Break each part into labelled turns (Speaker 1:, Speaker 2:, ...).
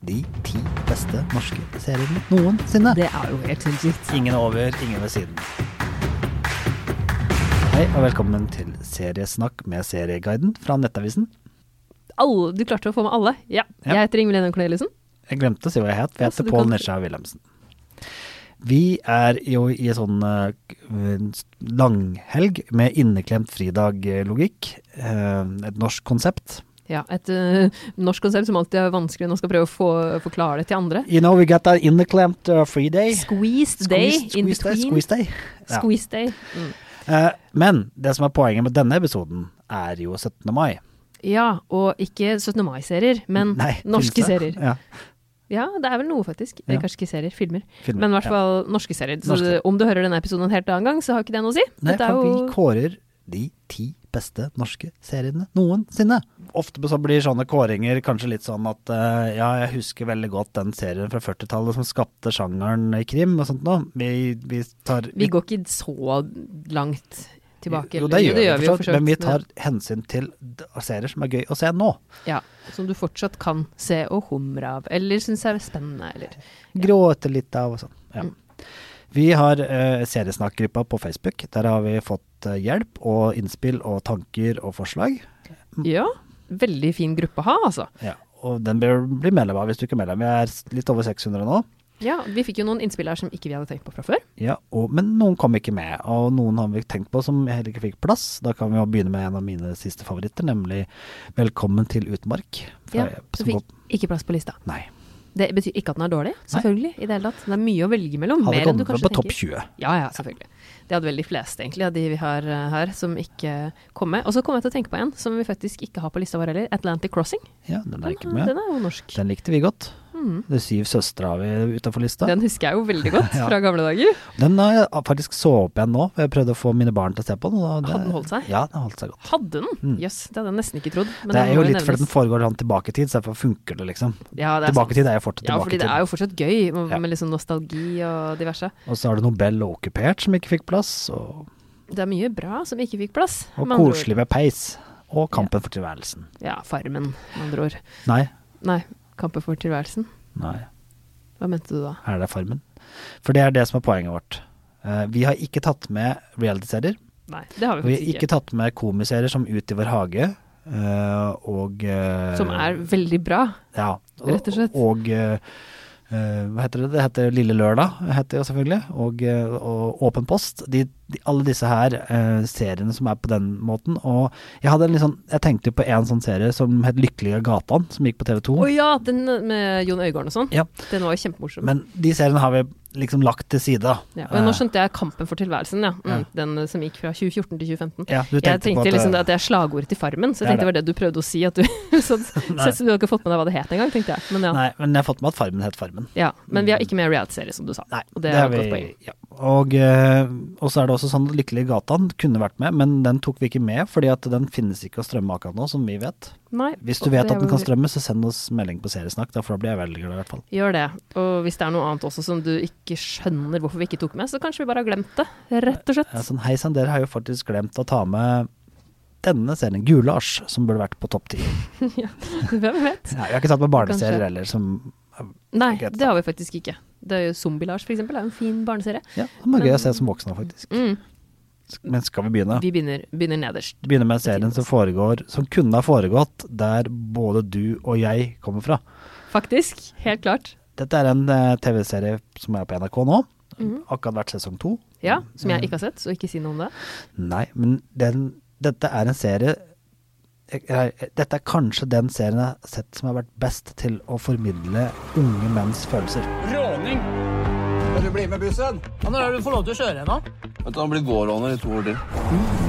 Speaker 1: De ti beste norske seriene noensinne.
Speaker 2: Det er jo helt legit.
Speaker 1: Ingen over, ingen ved siden. Hei og velkommen til Seriesnakk med Serieguiden fra Nettavisen.
Speaker 2: Alle, du klarte å få med alle. Ja.
Speaker 1: Ja.
Speaker 2: Jeg heter Ingvild Enum Corneliussen.
Speaker 1: Jeg glemte å si hva jeg het, for jeg
Speaker 2: Altså,
Speaker 1: heter
Speaker 2: du
Speaker 1: Pål
Speaker 2: kan-
Speaker 1: Nesja Wilhelmsen. Vi er jo i en sånn eh, en langhelg med inneklemt fridag-logikk. Eh, Et norsk konsept.
Speaker 2: Ja, et øh, norsk konsept som alltid er vanskelig når man skal prøve å få, forklare det til andre.
Speaker 1: You know we got that inneklemt uh, free day.
Speaker 2: Squeezed day
Speaker 1: Squeeze-
Speaker 2: in
Speaker 1: squeeze day,
Speaker 2: between.
Speaker 1: squeeze day. Ja.
Speaker 2: Squeeze day. Mm.
Speaker 1: Eh, Men det som er poenget med denne episoden, er jo 17. mai.
Speaker 2: Ja, og ikke 17. mai-serier, men
Speaker 1: Nei,
Speaker 2: norske
Speaker 1: finnes det?
Speaker 2: serier.
Speaker 1: Ja,
Speaker 2: Ja, det er vel noe, faktisk.
Speaker 1: Ja.
Speaker 2: Eh, Kanskje ikke serier, filmer.
Speaker 1: filmer.
Speaker 2: Men i hvert
Speaker 1: Ja.
Speaker 2: fall norske serier. Så
Speaker 1: Norske serier.
Speaker 2: om du hører denne episoden en helt annen gang, så har ikke det noe å si.
Speaker 1: Nei,
Speaker 2: Dette er
Speaker 1: for
Speaker 2: jo
Speaker 1: vi kårer de ti beste norske seriene noensinne. Ofte så blir sånne kåringer kanskje litt sånn at eh, ja, jeg husker veldig godt den serien fra 40-tallet som skapte sjangeren i krim og sånt noe. Vi, vi tar
Speaker 2: Vi går ikke så langt tilbake.
Speaker 1: Jo,
Speaker 2: eller-
Speaker 1: det gjør, vi,
Speaker 2: jo
Speaker 1: for så vidt, men vi
Speaker 2: men-
Speaker 1: tar hensyn til d- serier som er gøy å se nå.
Speaker 2: Ja, som du fortsatt kan se og humre av, eller syns er spennende, eller
Speaker 1: Gråte litt av og sånn. Ja. Vi har eh, seriesnakkgruppa på Facebook. Der har vi fått eh, hjelp og innspill og tanker og forslag.
Speaker 2: Ja. Veldig fin gruppe å ha, altså.
Speaker 1: Ja, og den bør du bli medlem av hvis du ikke er medlem. Vi er s- litt over 600 nå.
Speaker 2: Ja, vi fikk jo noen innspill her som ikke vi hadde tenkt på fra før.
Speaker 1: Ja, og, men noen kom ikke med, og noen har vi tenkt på som heller ikke fikk plass. Da kan vi jo begynne med en av mine siste favoritter, nemlig 'Velkommen til utmark'.
Speaker 2: Ja,
Speaker 1: som
Speaker 2: så fikk
Speaker 1: går-
Speaker 2: ikke plass på lista.
Speaker 1: Nei.
Speaker 2: Det betyr ikke at den er dårlig, selvfølgelig, i det hele tatt. Det er mye å velge mellom.
Speaker 1: Hadde
Speaker 2: Mer enn du
Speaker 1: kommet
Speaker 2: kanskje
Speaker 1: med på topp
Speaker 2: tenker.
Speaker 1: 20.
Speaker 2: Ja, ja, selvfølgelig. Det hadde vel de fleste, egentlig, av de vi har eh, her, som ikke kom med. Og så kom jeg til å tenke på en som vi faktisk ikke har på lista vår heller. Atlantic Crossing.
Speaker 1: Ja, den er Mm.
Speaker 2: Den,
Speaker 1: ikke med.
Speaker 2: den er jo norsk.
Speaker 1: Den likte vi godt.
Speaker 2: Mhm.
Speaker 1: De syv søstre har vi utafor lista.
Speaker 2: Den husker jeg jo veldig godt
Speaker 1: Ja.
Speaker 2: fra gamle dager.
Speaker 1: Den har jeg faktisk så opp igjen nå, for jeg prøvde å få mine barn til å se på den. og det-
Speaker 2: Hadde den holdt seg?
Speaker 1: Ja, den holdt seg godt.
Speaker 2: Hadde den? Jøss,
Speaker 1: Mm.
Speaker 2: det hadde jeg nesten ikke trodd. men
Speaker 1: det er
Speaker 2: må
Speaker 1: jo litt fordi den
Speaker 2: nevnes.
Speaker 1: foregår sånn tilbake i tid, så derfor funker det liksom.
Speaker 2: ja, det er
Speaker 1: Tilbake i
Speaker 2: sant.
Speaker 1: tid er jo fortsatt
Speaker 2: Ja,
Speaker 1: tilbake i
Speaker 2: fordi
Speaker 1: tid.
Speaker 2: det er jo fortsatt gøy med,
Speaker 1: Ja.
Speaker 2: med liksom nostalgi og diverse.
Speaker 1: Og så har du Nobel og okkupert som ikke fikk plass, og,
Speaker 2: Det er mye bra som ikke fikk plass.
Speaker 1: og
Speaker 2: med andre ord.
Speaker 1: koselig med peis. Og kampen for tilværelsen.
Speaker 2: Ja, Farmen, med andre ord.
Speaker 1: Nei,
Speaker 2: Nei, Kampen for tilværelsen.
Speaker 1: nei,
Speaker 2: Hva mente du da?
Speaker 1: er det Farmen? For det er det som er poenget vårt. Eh, Vi har ikke tatt med reality-serier.
Speaker 2: Nei, det har vi
Speaker 1: Vi
Speaker 2: faktisk
Speaker 1: har ikke
Speaker 2: ikke.
Speaker 1: tatt med komiserier som Ut i vår hage. eh, Og eh,
Speaker 2: Som er veldig bra.
Speaker 1: Ja.
Speaker 2: rett og slett.
Speaker 1: Og eh, eh, hva heter det? Det heter Lille Lørdag, heter det jo selvfølgelig. Og, eh, og Åpen post. De, de, alle disse her eh, seriene som er på den måten. Og jeg, hadde en litt sånn, jeg tenkte jo på en sånn serie som het Lykkelige gatan, som gikk på TV 2.
Speaker 2: Å ja, den med Jon Øigarden og sånn.
Speaker 1: Oh. Ja.
Speaker 2: Den var jo kjempemorsom.
Speaker 1: Men de seriene har vi liksom lagt til side, da.
Speaker 2: ja, og nå
Speaker 1: Eh,
Speaker 2: skjønte jeg Kampen for tilværelsen, ja.
Speaker 1: Ja.
Speaker 2: Mm, Den eh, som gikk fra 2014 til 2015.
Speaker 1: Eh, ja, du
Speaker 2: Jeg
Speaker 1: tenkte på
Speaker 2: tenkte
Speaker 1: at,
Speaker 2: liksom
Speaker 1: eh,
Speaker 2: at det er slagordet til Farmen, så jeg
Speaker 1: Det er
Speaker 2: tenkte det var det du prøvde å si. At du, så,
Speaker 1: Nei.
Speaker 2: så du har ikke fått med deg hva det het engang, tenkte jeg. Men ja.
Speaker 1: Nei, Mm. men jeg har fått med at Farmen het Farmen.
Speaker 2: Ja, men vi har ikke med reality-serie, som du sa.
Speaker 1: Nei,
Speaker 2: og det, er
Speaker 1: har
Speaker 2: et godt poeng.
Speaker 1: Ja. Og, eh, og så er det også sånn at Lykkelige gatan kunne vært med, men den tok vi ikke med, fordi at den finnes ikke å strømme akkurat nå, som vi vet.
Speaker 2: Nei,
Speaker 1: Hvis
Speaker 2: og
Speaker 1: du vet
Speaker 2: det er
Speaker 1: at den
Speaker 2: jo-
Speaker 1: kan strømme, så send oss melding på Seriesnakk, da, for da blir jeg veldig glad i hvert fall.
Speaker 2: Gjør det. Og hvis det er noe annet også som du ikke skjønner hvorfor vi ikke tok med, så kanskje vi bare har glemt det, rett og
Speaker 1: Ja,
Speaker 2: slett.
Speaker 1: Sånn, Hei sann, dere har jo faktisk glemt å ta med denne serien, Gulasj, som burde vært på topp ti.
Speaker 2: Hvem vet?
Speaker 1: Ja, vi har ikke tatt med barneserier
Speaker 2: Kanskje.
Speaker 1: heller, som
Speaker 2: Nei,
Speaker 1: Greit,
Speaker 2: det har vi faktisk ikke. Det er jo Zombie-Lars, for eksempel. Det er jo en fin barneserie.
Speaker 1: ja, som er gøy å se som voksne, faktisk.
Speaker 2: Mm.
Speaker 1: Men skal vi begynne?
Speaker 2: Vi begynner, begynner nederst.
Speaker 1: Begynne med serien som foregår, som kunne ha foregått der både du og jeg kommer fra.
Speaker 2: Faktisk. Helt klart.
Speaker 1: Dette er en eh, TV-serie som er på NRK nå.
Speaker 2: Mhm.
Speaker 1: Akkurat vært sesong to.
Speaker 2: Ja, som
Speaker 1: Mm.
Speaker 2: jeg ikke har sett, så ikke si noe om det.
Speaker 1: Nei, men den, dette er en serie jeg- jeg- Dette er kanskje den serien jeg har sett som har vært best til å formidle unge menns følelser.
Speaker 3: Råning!
Speaker 4: Skal du bli med bussen?
Speaker 3: Når er det du får lov til å kjøre ennå?
Speaker 4: Vet du, Han blir gårdråner i to år til.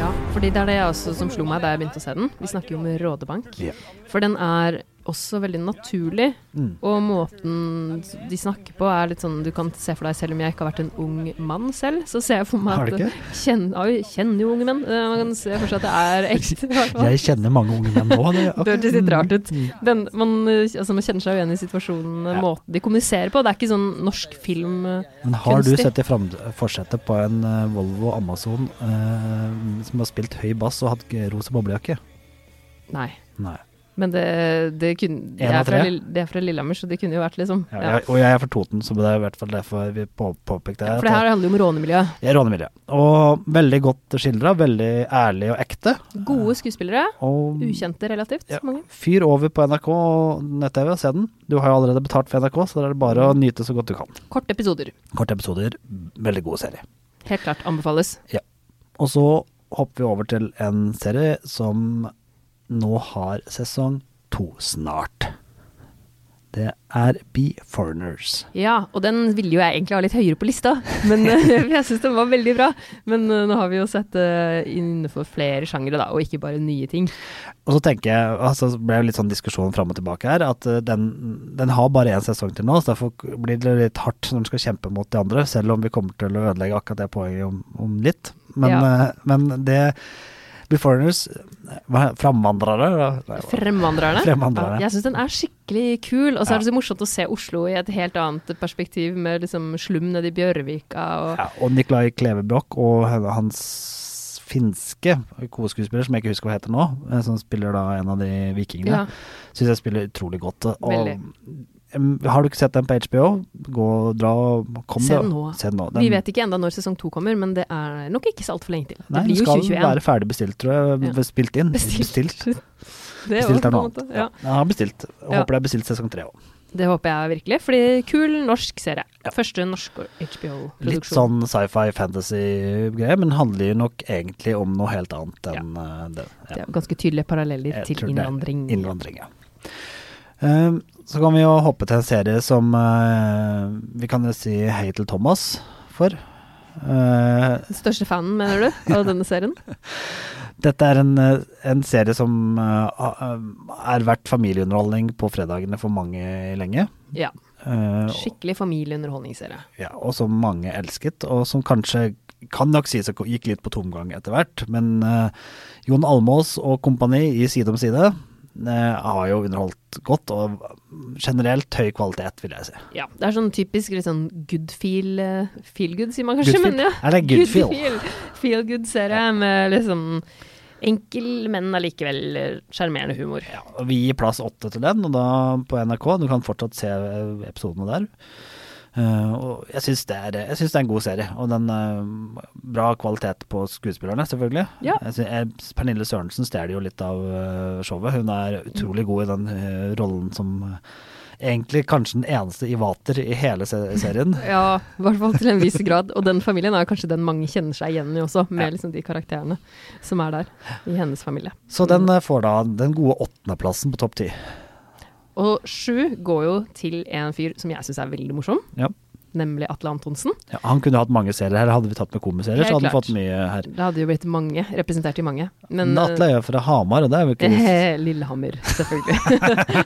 Speaker 2: Ja, fordi det er det jeg også som slo meg da jeg begynte å se den. Vi snakker jo om Rådebank.
Speaker 1: Ja.
Speaker 2: For den er også veldig naturlig,
Speaker 1: Mm.
Speaker 2: og måten de snakker på er litt sånn du kan se for deg, selv om jeg ikke har vært en ung mann selv, så ser jeg for meg
Speaker 1: Har du
Speaker 2: at
Speaker 1: ikke?
Speaker 2: Kjenn, jeg kjenner jo unge menn. eh, Man kan se for seg at det er ekte. i hvert fall.
Speaker 1: Jeg kjenner mange unge menn nå. Det,
Speaker 2: Det hørtes litt rart ut.
Speaker 1: Mm.
Speaker 2: Den, man, eh, altså, man kjenner seg jo igjen i situasjonen, eh,
Speaker 1: Ja.
Speaker 2: måten de kommuniserer på. Det er ikke sånn norsk film eh,
Speaker 1: Men har du
Speaker 2: Kunstig.
Speaker 1: sett i fram- forsetet på en eh, Volvo Amazon eh, som har spilt høy bass og hatt g- rosa boblejakke?
Speaker 2: Nei.
Speaker 1: Nei.
Speaker 2: Men det, det, kunne, det,
Speaker 1: En av
Speaker 2: er fra,
Speaker 1: tre?
Speaker 2: Lill- det er fra Lillehammer, så det kunne jo vært liksom
Speaker 1: Ja,
Speaker 2: ja.
Speaker 1: jeg, og jeg er fra Toten, så det er i hvert fall derfor vi på, påpekte
Speaker 2: For det her handler jo om rånemiljø.
Speaker 1: Jeg råner miljøet. Og veldig godt skildra, veldig ærlig og ekte.
Speaker 2: Gode skuespillere.
Speaker 1: Og
Speaker 2: Ukjente relativt
Speaker 1: Mm. Ja.
Speaker 2: mange.
Speaker 1: fyr over på NRK og nett-TV og se den. Du har jo allerede betalt for NRK, så da er det bare å nyte så godt du kan.
Speaker 2: Korte episoder.
Speaker 1: Korte episoder, veldig god serie.
Speaker 2: Helt klart anbefales.
Speaker 1: Og så hopper vi over til en serie som nå har sesong to snart. Det er Be Foreigners.
Speaker 2: Ja, og den ville jo jeg egentlig ha litt høyere på lista, men eh, jeg syns den var veldig bra. Men eh, nå har vi jo sett det innenfor flere sjangere, da, og ikke bare nye ting.
Speaker 1: Og så tenker jeg, altså det ble jo litt sånn diskusjon fram og tilbake her, at eh, den, den har bare én sesong til nå, så derfor blir det litt hardt når den skal kjempe mot de andre, selv om vi kommer til å ødelegge akkurat det poenget om, om litt. Men,
Speaker 2: Ja.
Speaker 1: eh, men det Beforeigners, framvandrere da?
Speaker 2: Fremvandrerne.
Speaker 1: Fremvandrerne.
Speaker 2: Ja, Jeg syns den er skikkelig kul, og så er det så morsomt å se Oslo i et helt annet perspektiv, med liksom slum nede i Bjørvika og
Speaker 1: ja, Og Nikolai Kleve Broch og hans finske koskuespiller, som jeg ikke husker hva heter nå, eh, som spiller da en av de vikingene.
Speaker 2: ja.
Speaker 1: Syns jeg spiller utrolig godt. Og,
Speaker 2: Veldig.
Speaker 1: Em, har du ikke sett den på HBO, gå og dra og kom
Speaker 2: Se
Speaker 1: deg-
Speaker 2: den nå.
Speaker 1: Se den nå. Den,
Speaker 2: Vi vet ikke enda når sesong to kommer, men det er nok ikke så altfor lenge til. Det
Speaker 1: nei, den
Speaker 2: blir jo
Speaker 1: skal
Speaker 2: 2021.
Speaker 1: være ferdig bestilt, tror jeg.
Speaker 2: Ja.
Speaker 1: Spilt inn.
Speaker 2: Bestilt.
Speaker 1: Bestilt.
Speaker 2: Det er jo
Speaker 1: Bestilt er
Speaker 2: på
Speaker 1: noe
Speaker 2: en
Speaker 1: annet.
Speaker 2: måte- Ja.
Speaker 1: Jeg har bestilt. Jeg
Speaker 2: Ja.
Speaker 1: Håper det er bestilt sesong tre òg.
Speaker 2: Det håper jeg virkelig, fordi kul norsk serie.
Speaker 1: Ja.
Speaker 2: Første norske
Speaker 1: Litt
Speaker 2: HBO-produksjon.
Speaker 1: sånn sci-fi fantasy-greie, men handler jo nok egentlig om noe helt annet enn eh, det. Ja.
Speaker 2: Det er ganske tydelige paralleller
Speaker 1: Jeg
Speaker 2: til
Speaker 1: tror det er
Speaker 2: innvandring.
Speaker 1: Innvandring, ja. Ehm, så kan vi jo hoppe til en serie som eh, vi kan jo si hei til Thomas for. Eh,
Speaker 2: Den største fanen, mener du, av denne serien?
Speaker 1: Dette er en, eh, en serie som eh, ha- er verdt familieunderholdning på fredagene for mange lenge.
Speaker 2: Ja.
Speaker 1: Eh, og-
Speaker 2: Skikkelig familieunderholdningsserie.
Speaker 1: ja, og som mange elsket, og som kanskje kan nok sies å gå- gikk litt på tomgang etter hvert. Men eh, Jon Almås og kompani i Side om side eh, har jo underholdt godt, og generelt høy kvalitet, vil jeg si.
Speaker 2: Ja, det er sånn typisk litt sånn good feel eh, Feel good, sier man kanskje,
Speaker 1: Good feel?
Speaker 2: men ja.
Speaker 1: Er det good feel?
Speaker 2: Feel good-serie med liksom enkel, men allikevel eh, sjarmerende humor.
Speaker 1: Ja, og vi gir plass åtte til den, og da på NRK. Du kan fortsatt se eh, episodene der. Eh, og jeg syns det, er- jeg synes det er en god serie, og den eh, bra kvalitet på skuespillerne, selvfølgelig.
Speaker 2: Ja.
Speaker 1: Jeg synes, jeg, Pernille Sørensen stjeler jo litt av eh, showet. Hun er utrolig god i den eh, rollen som eh, egentlig kanskje den eneste i vater i hele se serien.
Speaker 2: Ja, i hvert fall til en viss grad. Og den familien er kanskje den mange kjenner seg igjen i også, med liksom de karakterene som er der i hennes familie.
Speaker 1: Så den eh, får da den gode åttendeplassen på topp ti.
Speaker 2: Og sju går jo til en fyr som jeg syns er veldig morsom,
Speaker 1: Ja.
Speaker 2: nemlig Atle Antonsen.
Speaker 1: Ja, han kunne hatt mange serier her. Hadde vi tatt med komiserier, så
Speaker 2: Helt
Speaker 1: hadde han
Speaker 2: klart.
Speaker 1: fått mye her.
Speaker 2: Det hadde jo blitt mange, representert i mange. Men
Speaker 1: Men Atle er jo fra Hamar, og det er jo ikke
Speaker 2: eh, Lillehammer, selvfølgelig.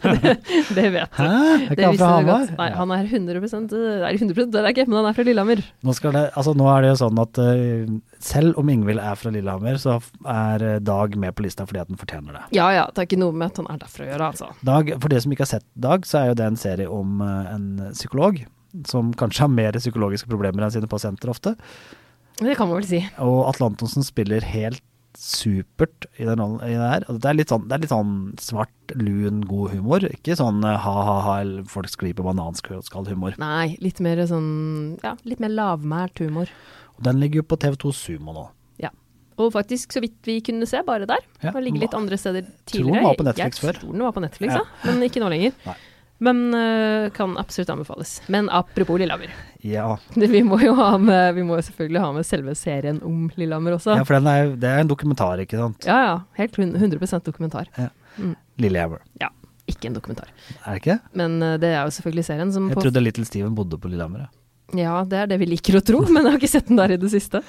Speaker 2: det, det vet
Speaker 1: Hæ?
Speaker 2: du.
Speaker 1: Er ikke han
Speaker 2: visste
Speaker 1: fra
Speaker 2: du
Speaker 1: Hamar?
Speaker 2: godt. Nei,
Speaker 1: Ja.
Speaker 2: han er 100 Nei, 100 det er ikke, men han er fra Lillehammer.
Speaker 1: Nå, skal det, altså, nå er det jo sånn at eh, selv om Ingvild er fra Lillehammer, så er eh, Dag med på lista fordi at den fortjener det.
Speaker 2: Ja ja, det er ikke noe med at han er derfra å gjøre, altså.
Speaker 1: Dag, For de som ikke har sett Dag, så er jo det en serie om eh, en psykolog som kanskje har mer psykologiske problemer enn sine pasienter ofte.
Speaker 2: Det kan man vel si.
Speaker 1: Og Atle Antonsen spiller helt supert i den rollen i det her. Og det er litt sånn, det er litt sånn svart, lun, god humor. Ikke sånn eh, ha-ha-ha, eller folk skriver bananskall-humor.
Speaker 2: Nei, litt mer sånn Ja, litt mer lavmælt humor.
Speaker 1: Den ligger jo på TV2 Sumo nå.
Speaker 2: Ja. Og faktisk, så vidt vi kunne se, bare der.
Speaker 1: Ja.
Speaker 2: Den ligger litt andre steder
Speaker 1: den
Speaker 2: tidligere.
Speaker 1: var på Netflix før.
Speaker 2: Jeg tror den var på Netflix,
Speaker 1: Ja.
Speaker 2: ja. Men ikke nå lenger.
Speaker 1: Nei.
Speaker 2: Men øh, kan absolutt anbefales. Men apropos Lillehammer.
Speaker 1: Ja.
Speaker 2: Vi må jo ha med, vi må jo selvfølgelig ha med selve serien om Lillehammer også.
Speaker 1: Ja, for den er, det er en dokumentar, ikke sant?
Speaker 2: Ja ja, helt hun- 100 dokumentar.
Speaker 1: Lillehammer,
Speaker 2: Ja, ikke en dokumentar.
Speaker 1: er det ikke?
Speaker 2: Men øh, det er jo selvfølgelig serien som
Speaker 1: Jeg
Speaker 2: på
Speaker 1: trodde Little Steven bodde på Lillehammer. ja.
Speaker 2: Ja, det er det vi liker å tro, men jeg har ikke sett den der i det siste.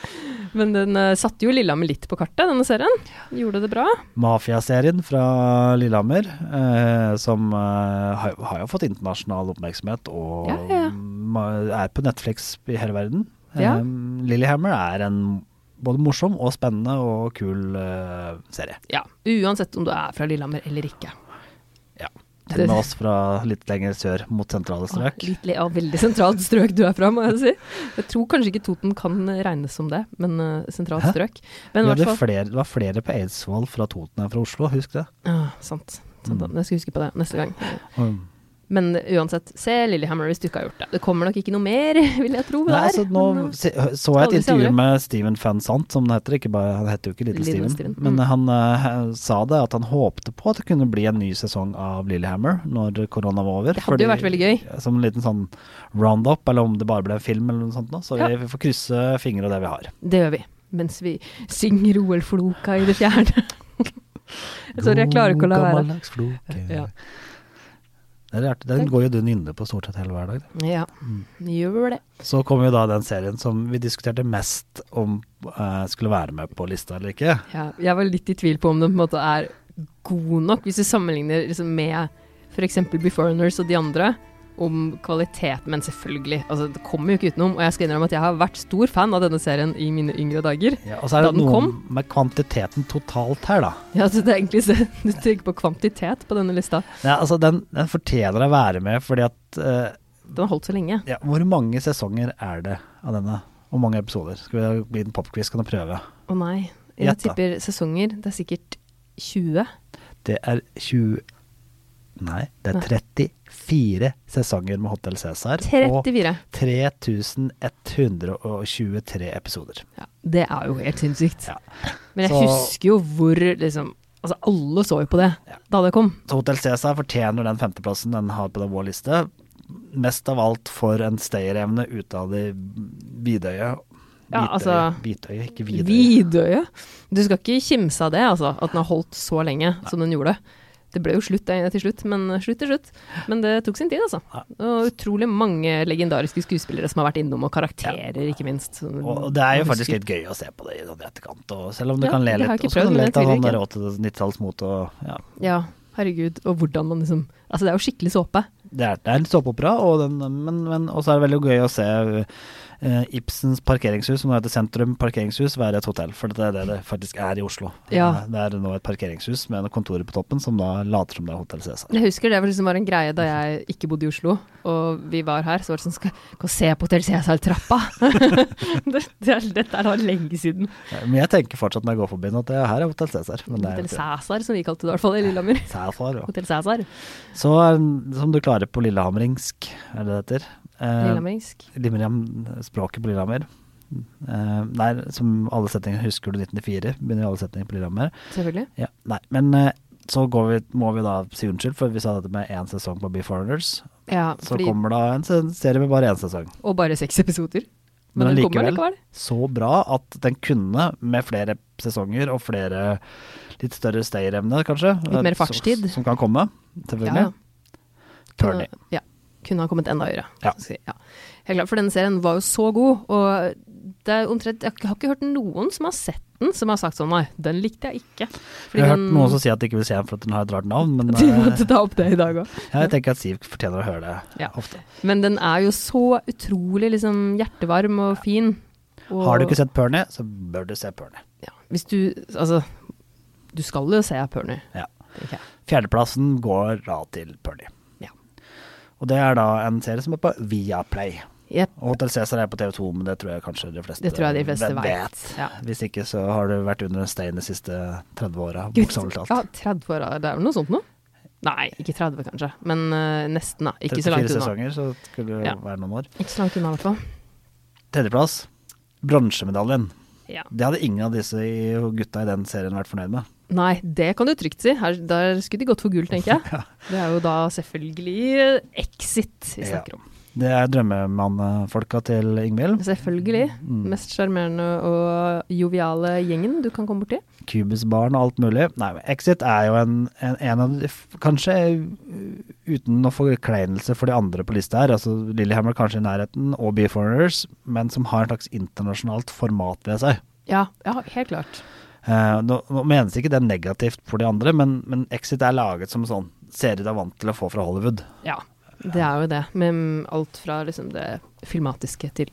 Speaker 2: Men den eh, satte jo Lillehammer litt på kartet, denne serien. Gjorde det bra.
Speaker 1: Mafiaserien fra Lillehammer, eh, som eh, har, har jo fått internasjonal oppmerksomhet og
Speaker 2: Ja, ja, ja.
Speaker 1: ma- er på Netflix i hele verden.
Speaker 2: Ja.
Speaker 1: Eh, Lillehammer er en både morsom og spennende og kul eh, serie.
Speaker 2: Ja, uansett om du er fra Lillehammer eller ikke.
Speaker 1: Ja. Til og
Speaker 2: Det-
Speaker 1: med oss fra litt lenger sør mot sentrale strøk.
Speaker 2: Ah, Litt, ja, veldig sentralt strøk du er fra, må jeg si. Jeg tror kanskje ikke Toten kan regnes som det, men eh, sentralt
Speaker 1: Hæ?
Speaker 2: strøk.
Speaker 1: Vi
Speaker 2: Men i
Speaker 1: hadde
Speaker 2: hvert fall
Speaker 1: flere, det var flere på Eidsvoll fra Toten enn fra Oslo, husk det.
Speaker 2: ah, Sant. sant. Da-
Speaker 1: Mm.
Speaker 2: Jeg skal huske på det neste gang.
Speaker 1: Og,
Speaker 2: Mm. Men uansett, se Lillehammer hvis du ikke har gjort det. Det kommer nok ikke noe mer, vil jeg tro.
Speaker 1: Nei,
Speaker 2: der,
Speaker 1: altså, nå
Speaker 2: men, uh,
Speaker 1: se- så jeg et
Speaker 2: aldri si aldri.
Speaker 1: intervju med Steven Van Sant, som det heter. Ikke bare, han heter jo ikke Little,
Speaker 2: Little
Speaker 1: Steven,
Speaker 2: Steven,
Speaker 1: men
Speaker 2: mm.
Speaker 1: han eh, sa det at han håpte på at det kunne bli en ny sesong av Lillehammer når korona var over.
Speaker 2: Det hadde jo vært veldig gøy.
Speaker 1: Som en liten sånn roundup, eller om det bare ble en film eller noe sånt. Nå. Så
Speaker 2: Ja.
Speaker 1: vi, vi får krysse fingre og det vi har.
Speaker 2: eh, det gjør vi. Mens vi synger OL-floka i det fjerne. Sorry, jeg klarer ikke å la
Speaker 1: God
Speaker 2: være.
Speaker 1: gammeldags floke.
Speaker 2: Ja.
Speaker 1: Det er rart. Den går jo du nynner på stort sett hele hver dag.
Speaker 2: Ja,
Speaker 1: Mm.
Speaker 2: gjør det.
Speaker 1: Så kom jo da den serien som vi diskuterte mest om eh, skulle være med på lista eller ikke.
Speaker 2: Ja, jeg var litt i tvil på om den på en måte er god nok, hvis du sammenligner liksom med f.eks. Beforeigners og de andre, om kvalitet. Men selvfølgelig, altså, det kommer jo ikke utenom. Og jeg skal innrømme at jeg har vært stor fan av denne serien i mine yngre dager.
Speaker 1: Ja, og så er
Speaker 2: Da
Speaker 1: det
Speaker 2: den
Speaker 1: noe
Speaker 2: kom.
Speaker 1: med kvantiteten totalt her, da.
Speaker 2: Ja, så det er egentlig så, Du tenker på kvantitet på denne lista.
Speaker 1: Ja, altså den, den fortjener å være med, fordi at eh,
Speaker 2: Den har holdt så lenge.
Speaker 1: ja, Hvor mange sesonger er det av denne? Og mange episoder? Skal vi bli en popquiz, kan du prøve?
Speaker 2: Å nei. Jeg
Speaker 1: Gjett da.
Speaker 2: tipper sesonger. Det er sikkert 20.
Speaker 1: Det er 20 Nei, det er 34 sesonger med Hotel Cæsar. Og
Speaker 2: 34.
Speaker 1: 3123 episoder.
Speaker 2: Ja, det er jo helt sinnssykt.
Speaker 1: Ja.
Speaker 2: Men jeg
Speaker 1: Så-
Speaker 2: husker jo hvor liksom Altså, alle så jo på det da det kom.
Speaker 1: Så Hotel Cæsar fortjener den femteplassen den har på den vår liste. Mest av alt for en stayerevne utad i Vidøye.
Speaker 2: Ja, altså-
Speaker 1: Hvitøye, ikke Vidøye.
Speaker 2: Vidøye. Du skal ikke kimse av det, altså. At den har holdt så lenge som den gjorde. Det ble jo slutt eh, til slutt, men slutt til slutt. Men det tok sin tid, altså. Og utrolig mange legendariske skuespillere som har vært innom, og karakterer, ikke minst. som-
Speaker 1: Og og det er jo
Speaker 2: man
Speaker 1: faktisk
Speaker 2: husker.
Speaker 1: litt gøy å se på det i sånn etterkant, og selv om du
Speaker 2: Ja,
Speaker 1: kan le
Speaker 2: det
Speaker 1: litt.
Speaker 2: har jeg ikke
Speaker 1: og så kan
Speaker 2: prøvd,
Speaker 1: du
Speaker 2: men
Speaker 1: le
Speaker 2: jeg
Speaker 1: litt av
Speaker 2: tviler
Speaker 1: sånn
Speaker 2: ikke.
Speaker 1: der 80-90-tallsmot og ja.
Speaker 2: Ja, herregud. Og hvordan man liksom Altså, det er jo skikkelig såpe.
Speaker 1: Det er, det er en såpeopera, og den- men, men også er det veldig gøy å se eh, Ibsens parkeringshus, som nå heter Sentrum parkeringshus, være et hotell. For det er det det faktisk er i Oslo.
Speaker 2: Ja.
Speaker 1: Eh, Det er nå et parkeringshus med noen kontorer på toppen, som da later som det er Hotell Cæsar.
Speaker 2: Jeg husker det var liksom var en greie da jeg ikke bodde i Oslo, og vi var her, så var det sånn Skal gå og se på Hotell Cæsar-trappa! det, det er, dette er da lenge siden.
Speaker 1: Eh, Men jeg tenker fortsatt når jeg går forbi den at det her er Hotell Cæsar. men det er jo
Speaker 2: Hotell
Speaker 1: ikke-
Speaker 2: Cæsar, som vi kalte det i hvert fall i Lillehammer.
Speaker 1: Cæsar, ja.
Speaker 2: Hotell Cæsar.
Speaker 1: Så eh, som du klarer på lillehamringsk, er det det heter. Eh,
Speaker 2: Lillehammersk.
Speaker 1: Limeriam, språket på Lillehammer. Eh, nei, som alle setninger husker du 1994, begynner jo alle setninger på Lillehammer.
Speaker 2: Selvfølgelig.
Speaker 1: Ja, nei, men eh, så går vi, må vi da si unnskyld, for vi sa dette med én sesong på Beforeigners.
Speaker 2: Ja,
Speaker 1: Så
Speaker 2: fordi,
Speaker 1: kommer da en se- serie med bare én sesong.
Speaker 2: og bare seks episoder. Men, den kommer likevel.
Speaker 1: så bra at den kunne, med flere sesonger og flere litt større stayerevne, kanskje.
Speaker 2: Litt mer
Speaker 1: eh, som-
Speaker 2: fartstid.
Speaker 1: Som kan komme,
Speaker 2: Ja,
Speaker 1: selvfølgelig.
Speaker 2: kunne,
Speaker 1: Turney.
Speaker 2: ja, kunne ha kommet enda høyere.
Speaker 1: Ja.
Speaker 2: Så, ja. Helt klart, for denne serien var jo så god, og det er omtrent, jeg har ikke hørt noen som har sett den, som har sagt sånn nei, den likte jeg ikke. Fordi
Speaker 1: Jeg har hørt
Speaker 2: den-
Speaker 1: noen som sier at de ikke vil se den for at den har et rart navn, men
Speaker 2: Du
Speaker 1: eh,
Speaker 2: måtte ta opp det i dag òg.
Speaker 1: jeg tenker at Siv fortjener å høre det
Speaker 2: Ja.
Speaker 1: ofte.
Speaker 2: Men den er jo så utrolig liksom, hjertevarm og fin. Og,
Speaker 1: Har du ikke sett Perny, så bør du se Perny.
Speaker 2: ja, Hvis du Altså, du skal jo se Perny,
Speaker 1: Ja.
Speaker 2: tenker jeg.
Speaker 1: Fjerdeplassen går da til Perny.
Speaker 2: Ja.
Speaker 1: Og det er da en serie som er på Viaplay.
Speaker 2: Jep,
Speaker 1: Og Hotel Cæsar er på TV2, men det tror jeg kanskje de fleste,
Speaker 2: det tror jeg de fleste
Speaker 1: vet.
Speaker 2: vet. Ja.
Speaker 1: Hvis ikke så har du vært under en stein de siste 30 åra,
Speaker 2: Gud,
Speaker 1: bokstavelig
Speaker 2: Ja,
Speaker 1: talt.
Speaker 2: 30 år, det er vel noe sånt nå? Nei, ikke 30 kanskje, men eh, nesten da. Ikke så
Speaker 1: 34
Speaker 2: langt unna.
Speaker 1: sesonger, så skulle det
Speaker 2: Ja.
Speaker 1: være noen år.
Speaker 2: Ikke så langt unna i hvert fall.
Speaker 1: Tredjeplass, bronsemedaljen.
Speaker 2: Ja.
Speaker 1: Det hadde ingen av disse i- gutta i den serien vært fornøyd med.
Speaker 2: Nei, det kan du trygt si. Her, der skulle de gått for gull, tenker jeg. Det er jo da selvfølgelig eh, Exit vi
Speaker 1: Ja.
Speaker 2: snakker om.
Speaker 1: Det er drømmemannfolka til Ingvild.
Speaker 2: Selvfølgelig.
Speaker 1: Mm.
Speaker 2: Mest sjarmerende og joviale gjengen du kan komme borti.
Speaker 1: Cubus-barn og alt mulig. Nei, men Exit er jo en, en, en av de f- Kanskje uh, uten å få forkleinelse for de andre på lista her, altså Lillehammer kanskje i nærheten, og Beforeigners, men som har en slags internasjonalt format ved seg.
Speaker 2: Ja, ja helt klart.
Speaker 1: Eh, nå, nå menes ikke det negativt for de andre, men, men Exit er laget som sånn serie du er vant til å få fra Hollywood.
Speaker 2: Ja, det er jo det. Med alt fra liksom det filmatiske til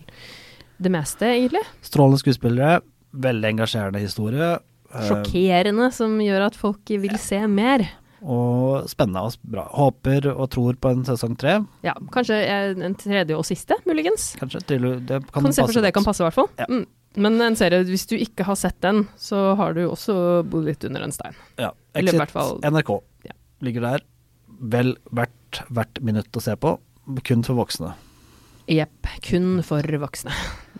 Speaker 2: det meste, egentlig.
Speaker 1: Strålende skuespillere, veldig engasjerende historie. eh,
Speaker 2: Sjokkerende, som gjør at folk vil se mer.
Speaker 1: og spennende og bra. Håper og tror på en sesong tre.
Speaker 2: Ja, kanskje en en tredje og siste, muligens.
Speaker 1: Kanskje. Til, det kan
Speaker 2: Kan, se for seg det
Speaker 1: godt.
Speaker 2: kan passe, i hvert fall.
Speaker 1: Ja.
Speaker 2: Mm. Men en serie, hvis du ikke har sett den, så har du også bodd litt under en stein.
Speaker 1: Ja.
Speaker 2: Eller i
Speaker 1: Exit,
Speaker 2: hvert fall-
Speaker 1: NRK.
Speaker 2: Ja.
Speaker 1: ligger der. Vel verdt hvert minutt å se på. Kun for voksne.
Speaker 2: Jepp. Kun for voksne.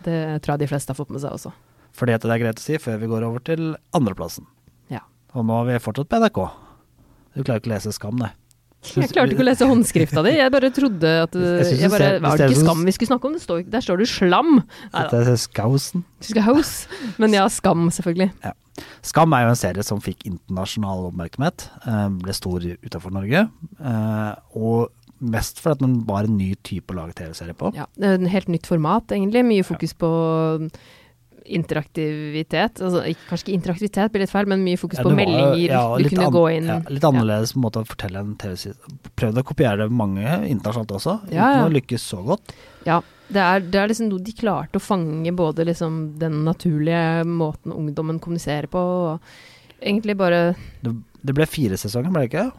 Speaker 2: Det tror jeg de fleste har fått med seg også.
Speaker 1: Fordi at det er greit å si før vi går over til andreplassen.
Speaker 2: Ja.
Speaker 1: Og nå er vi fortsatt på NRK. Du klarer ikke å lese Skam, nei.
Speaker 2: Jeg klarte ikke å lese håndskrifta di. Jeg bare trodde at
Speaker 1: Jeg synes
Speaker 2: jeg
Speaker 1: det
Speaker 2: bare,
Speaker 1: ser- det sånn
Speaker 2: Var
Speaker 1: ser
Speaker 2: det
Speaker 1: ut
Speaker 2: ikke
Speaker 1: som-
Speaker 2: skam vi skulle snakke om? Det står, der står det slam! Nei da.
Speaker 1: Dette er Skausen.
Speaker 2: Husker jeg House. Men ja, skam, selvfølgelig.
Speaker 1: Skam er jo en serie som fikk internasjonal oppmerksomhet. eh, Ble stor utenfor Norge. eh, Og mest fordi at den var en ny type å lage TV-serie på.
Speaker 2: Ja, det er en helt nytt format, egentlig. Mye fokus på mm, interaktivitet. Altså, ikke- kanskje ikke interaktivitet blir litt feil, men mye fokus
Speaker 1: Ja,
Speaker 2: på
Speaker 1: det var-
Speaker 2: meldinger.
Speaker 1: ja,
Speaker 2: du
Speaker 1: litt
Speaker 2: kunne
Speaker 1: an-
Speaker 2: gå inn
Speaker 1: ja, Litt annerledes måte å fortelle en TV-serie Prøvd å kopiere det mange internasjonalt også,
Speaker 2: Ja, ja.
Speaker 1: uten å lykkes så godt.
Speaker 2: Ja, det er, det er liksom noe de klarte å fange både liksom den naturlige måten ungdommen kommuniserer på, og egentlig bare
Speaker 1: Det, det ble fire sesonger, ble det ikke?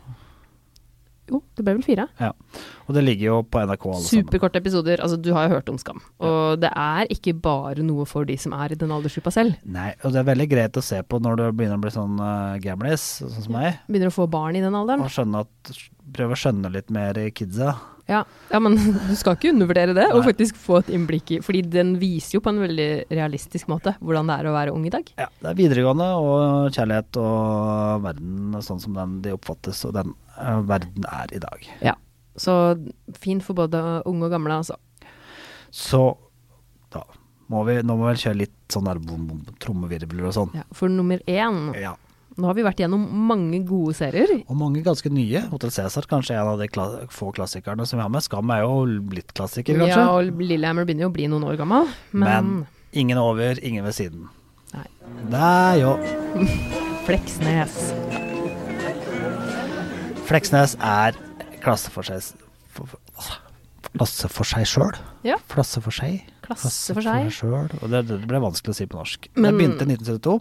Speaker 2: Jo, det ble vel fire?
Speaker 1: Og det ligger jo på NRK alle sammen.
Speaker 2: Superkorte episoder. Altså, du har jo hørt om Skam. Og det er ikke bare noe for de som er i den aldersgruppa selv.
Speaker 1: Nei, og det er veldig greit å se på når du begynner å bli sånn uh, gamlis, sånn som meg,
Speaker 2: Begynner å få barn i den alderen.
Speaker 1: og skjønne at Prøve å skjønne litt mer i kidsa.
Speaker 2: Ja, ja men du skal ikke undervurdere det, og
Speaker 1: Nei.
Speaker 2: faktisk få et innblikk i Fordi den viser jo på en veldig realistisk måte hvordan det er å være ung i dag.
Speaker 1: Ja, det er videregående og kjærlighet og verden sånn som den de oppfattes, og den eh, verden er i dag.
Speaker 2: Så fint for både unge og gamle, altså.
Speaker 1: Så da må vi Nå må vi vel kjøre litt sånn der bom, bom, trommevirvler og sånn.
Speaker 2: Ja, for nummer én
Speaker 1: Ja.
Speaker 2: Nå har vi vært gjennom mange gode serier.
Speaker 1: Og mange ganske nye. Hotell Cæsar kanskje en av de kla få klassikerne som vi har med. Skam er jo blitt klassiker, kanskje.
Speaker 2: Ja, og Lillehammer begynner jo å bli noen år gammel, men,
Speaker 1: Men ingen over, ingen ved siden.
Speaker 2: Nei.
Speaker 1: Det er jo
Speaker 2: Fleksnes.
Speaker 1: Fleksnes er klasse for seg s- for- for- Klasse for seg sjøl.
Speaker 2: Ja.
Speaker 1: Klasse for seg.
Speaker 2: Klasse for seg.
Speaker 1: sjøl. Og det, det ble vanskelig å si på norsk.
Speaker 2: Men-
Speaker 1: Den begynte i 1972,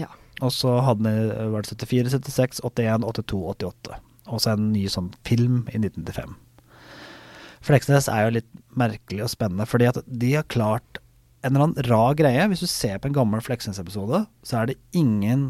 Speaker 2: Ja.
Speaker 1: og så hadde den eh, vært 74, 76, 81, 82, 88. Og så en ny sånn film i 1995. Fleksnes er jo litt merkelig og spennende, fordi at de har klart en eller annen rar greie. Hvis du ser på en gammel Fleksnes-episode, så er det ingen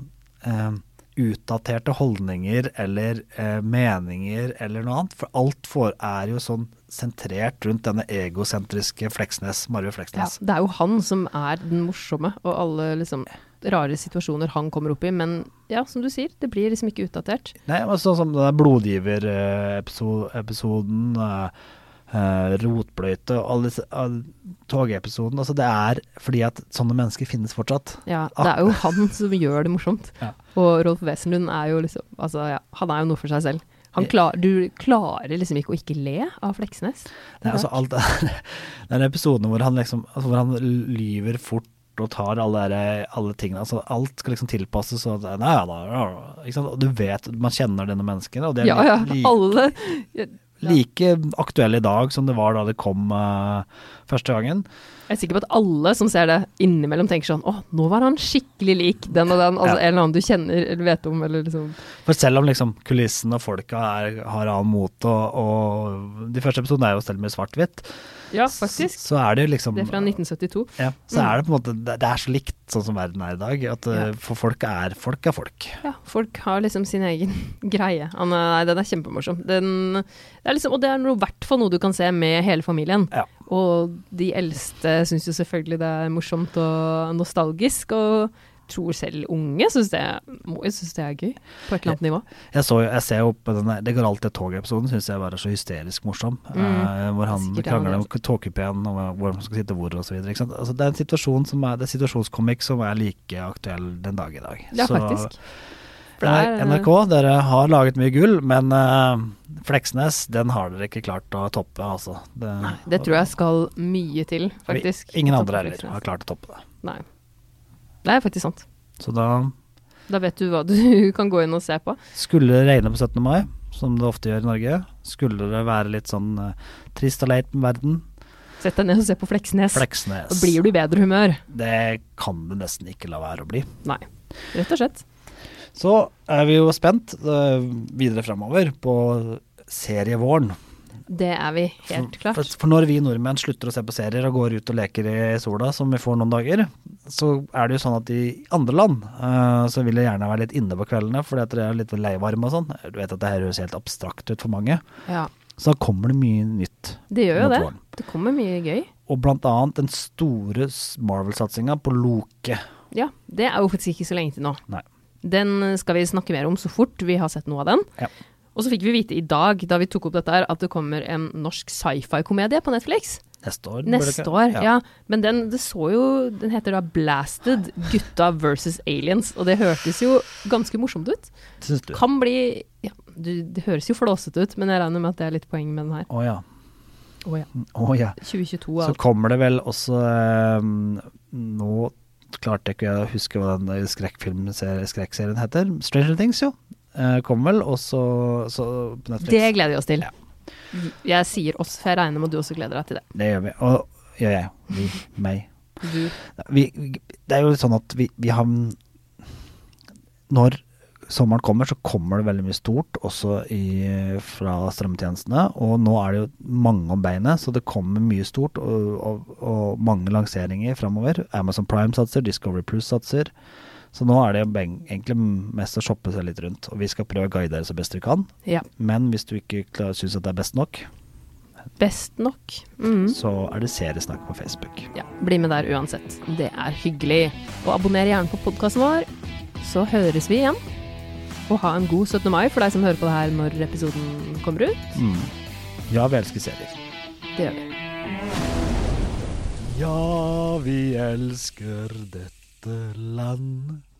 Speaker 1: eh, utdaterte holdninger eller eh, meninger eller noe annet. For alt for er jo sånn sentrert rundt denne egosentriske Fleksnes, Marve
Speaker 2: Ja,
Speaker 1: Fleksnes.
Speaker 2: det er jo han som er den morsomme, og alle liksom rare situasjoner han kommer opp i. Men ja, som du sier, det blir liksom ikke utdatert.
Speaker 1: Nei, men sånn som den blodgiver-episoden, eh, rotbløyte og alle disse all, togepisoden. Altså det er fordi at sånne mennesker finnes fortsatt.
Speaker 2: Ja, det er jo han som gjør det morsomt.
Speaker 1: Ah. Ja.
Speaker 2: Og Rolf Wesenlund er jo liksom altså, ja, Han er jo noe for seg selv. Han
Speaker 1: Ja.
Speaker 2: klar, du klarer liksom ikke å ikke le av Fleksnes.
Speaker 1: Det er altså alt det er- det er den episoden hvor han liksom altså hvor han lyver fort og tar alle, der, alle tingene. Altså alt skal liksom tilpasses og det- Nei, ja, da, ja, ikke sant? Og du vet Man kjenner denne menneskene, og det er
Speaker 2: Ja, ja.
Speaker 1: li, li,
Speaker 2: Alle
Speaker 1: like aktuelle i dag som det var da det kom eh, første gangen.
Speaker 2: Jeg er sikker på at alle som ser det, innimellom tenker sånn Å, nå var han skikkelig lik den og den. Altså
Speaker 1: Ja.
Speaker 2: en eller annen du kjenner eller vet om, eller liksom
Speaker 1: For selv om liksom kulissen og folka er, har annen mote, og, og de første episodene er jo stelt med svart-hvitt,
Speaker 2: Ja,
Speaker 1: s-
Speaker 2: faktisk.
Speaker 1: så er det jo liksom
Speaker 2: Det er fra 1972.
Speaker 1: ja, så er det på en måte Det det er så likt sånn som verden er i dag, at eh,
Speaker 2: Ja.
Speaker 1: for folk er folk er folk.
Speaker 2: Ja, folk har liksom sin egen greie. Han er, nei, den er kjempemorsom. Den, det er liksom, og det er noe- i hvert fall noe du kan se med hele familien.
Speaker 1: Ja.
Speaker 2: Og de eldste syns jo selvfølgelig det er morsomt og nostalgisk, og tror selv unge syns det, må jo synes det er gøy, på et eller annet nivå.
Speaker 1: Jeg, så, jo- jeg ser jo på den der Det går alltid et tog-episoden, syns jeg bare er så hysterisk morsom. eh, hvor han
Speaker 2: Mm. Sikkert er han
Speaker 1: krangler om togkupeen og hvor man skal sitte hvor og så videre. Ikke sant? Altså, det er en situasjon som er, det er situasjonskomikk som er like aktuell den dag i dag.
Speaker 2: Ja,
Speaker 1: Så-
Speaker 2: faktisk.
Speaker 1: For det er NRK, dere har laget mye gull, men eh, Fleksnes, den har dere ikke klart å toppe, altså. Det,
Speaker 2: eh, Det tror jeg skal mye til, faktisk.
Speaker 1: Vi, ingen
Speaker 2: Topp
Speaker 1: andre
Speaker 2: Fleksnes.
Speaker 1: heller har klart å toppe det.
Speaker 2: Nei. Det er faktisk sant.
Speaker 1: Så da
Speaker 2: Da vet du hva du kan gå inn og se på.
Speaker 1: skulle det regne på 17. mai, som det ofte gjør i Norge. Skulle det være litt sånn eh, trist og leit med verden,
Speaker 2: Sett deg ned og se på Fleksnes.
Speaker 1: Fleksnes.
Speaker 2: Da blir du i bedre humør.
Speaker 1: Det kan det nesten ikke la være å bli.
Speaker 2: Nei, rett og slett.
Speaker 1: Så er vi jo spent eh, videre framover på serievåren.
Speaker 2: Det er vi helt klart.
Speaker 1: For, for når vi nordmenn slutter å se på serier og går ut og leker i sola, som vi får noen dager, så er det jo sånn at i andre land eh, så vil jeg gjerne være litt inne på kveldene fordi at dere er litt leivarme og sånn. Du vet at det her høres helt abstrakt ut for mange.
Speaker 2: Ja,
Speaker 1: Så da kommer det mye nytt.
Speaker 2: det gjør jo
Speaker 1: mot
Speaker 2: det.
Speaker 1: våren.
Speaker 2: Det kommer mye gøy.
Speaker 1: Og blant annet den store s- Marvel-satsinga på Loke.
Speaker 2: Ja, det er jo faktisk ikke så lenge til nå.
Speaker 1: Nei.
Speaker 2: Den skal vi snakke mer om så fort vi har sett noe av den.
Speaker 1: Ja.
Speaker 2: Og så fikk vi vite i dag, da vi tok opp dette her, at det kommer en norsk sci-fi-komedie på Netflix.
Speaker 1: Neste år. burde det
Speaker 2: Neste
Speaker 1: ikke-
Speaker 2: år, ja. Men den, det så jo, den heter da Blasted, gutta versus aliens. Og det hørtes jo ganske morsomt ut.
Speaker 1: Syns du?
Speaker 2: Kan bli, ja, du, det høres jo flåsete ut, men jeg regner med at det er litt poeng med den her.
Speaker 1: Å ja.
Speaker 2: Å ja.
Speaker 1: Å ja.
Speaker 2: 2022
Speaker 1: Så
Speaker 2: altså.
Speaker 1: kommer det vel også eh, Nå klarte jeg ikke å huske hva den der skrekkfilm- skrekkserien heter. Stranger Things, jo. Eh, Kommer vel også så på Netflix.
Speaker 2: Det gleder vi oss til.
Speaker 1: Ja.
Speaker 2: Jeg sier oss, for jeg regner med at du også gleder deg til det.
Speaker 1: Det gjør vi. Og gjør jeg. Vi, meg.
Speaker 2: Du,
Speaker 1: Vi, det er jo sånn at vi, vi har Når sommeren kommer, så kommer det veldig mye stort også i, fra strømmetjenestene. Og nå er det jo mange om beinet, så det kommer mye stort og, og, og mange lanseringer framover. Amazon Prime satser, Discovery Plus satser. Så nå er det jo beng- egentlig mest å shoppe seg litt rundt. Og vi skal prøve å guide dere så best vi kan.
Speaker 2: ja.
Speaker 1: Men hvis du ikke syns at det er best nok,
Speaker 2: Best nok. Mhm.
Speaker 1: så er det seriesnakk på Facebook.
Speaker 2: Ja, bli med der uansett. Det er hyggelig. Og abonner gjerne på podkasten vår, så høres vi igjen. Og ha en god 17. mai for deg som hører på det her når episoden kommer ut.
Speaker 1: Mm. Ja, vi elsker serier.
Speaker 2: Det gjør vi.
Speaker 1: Ja, vi elsker dette land.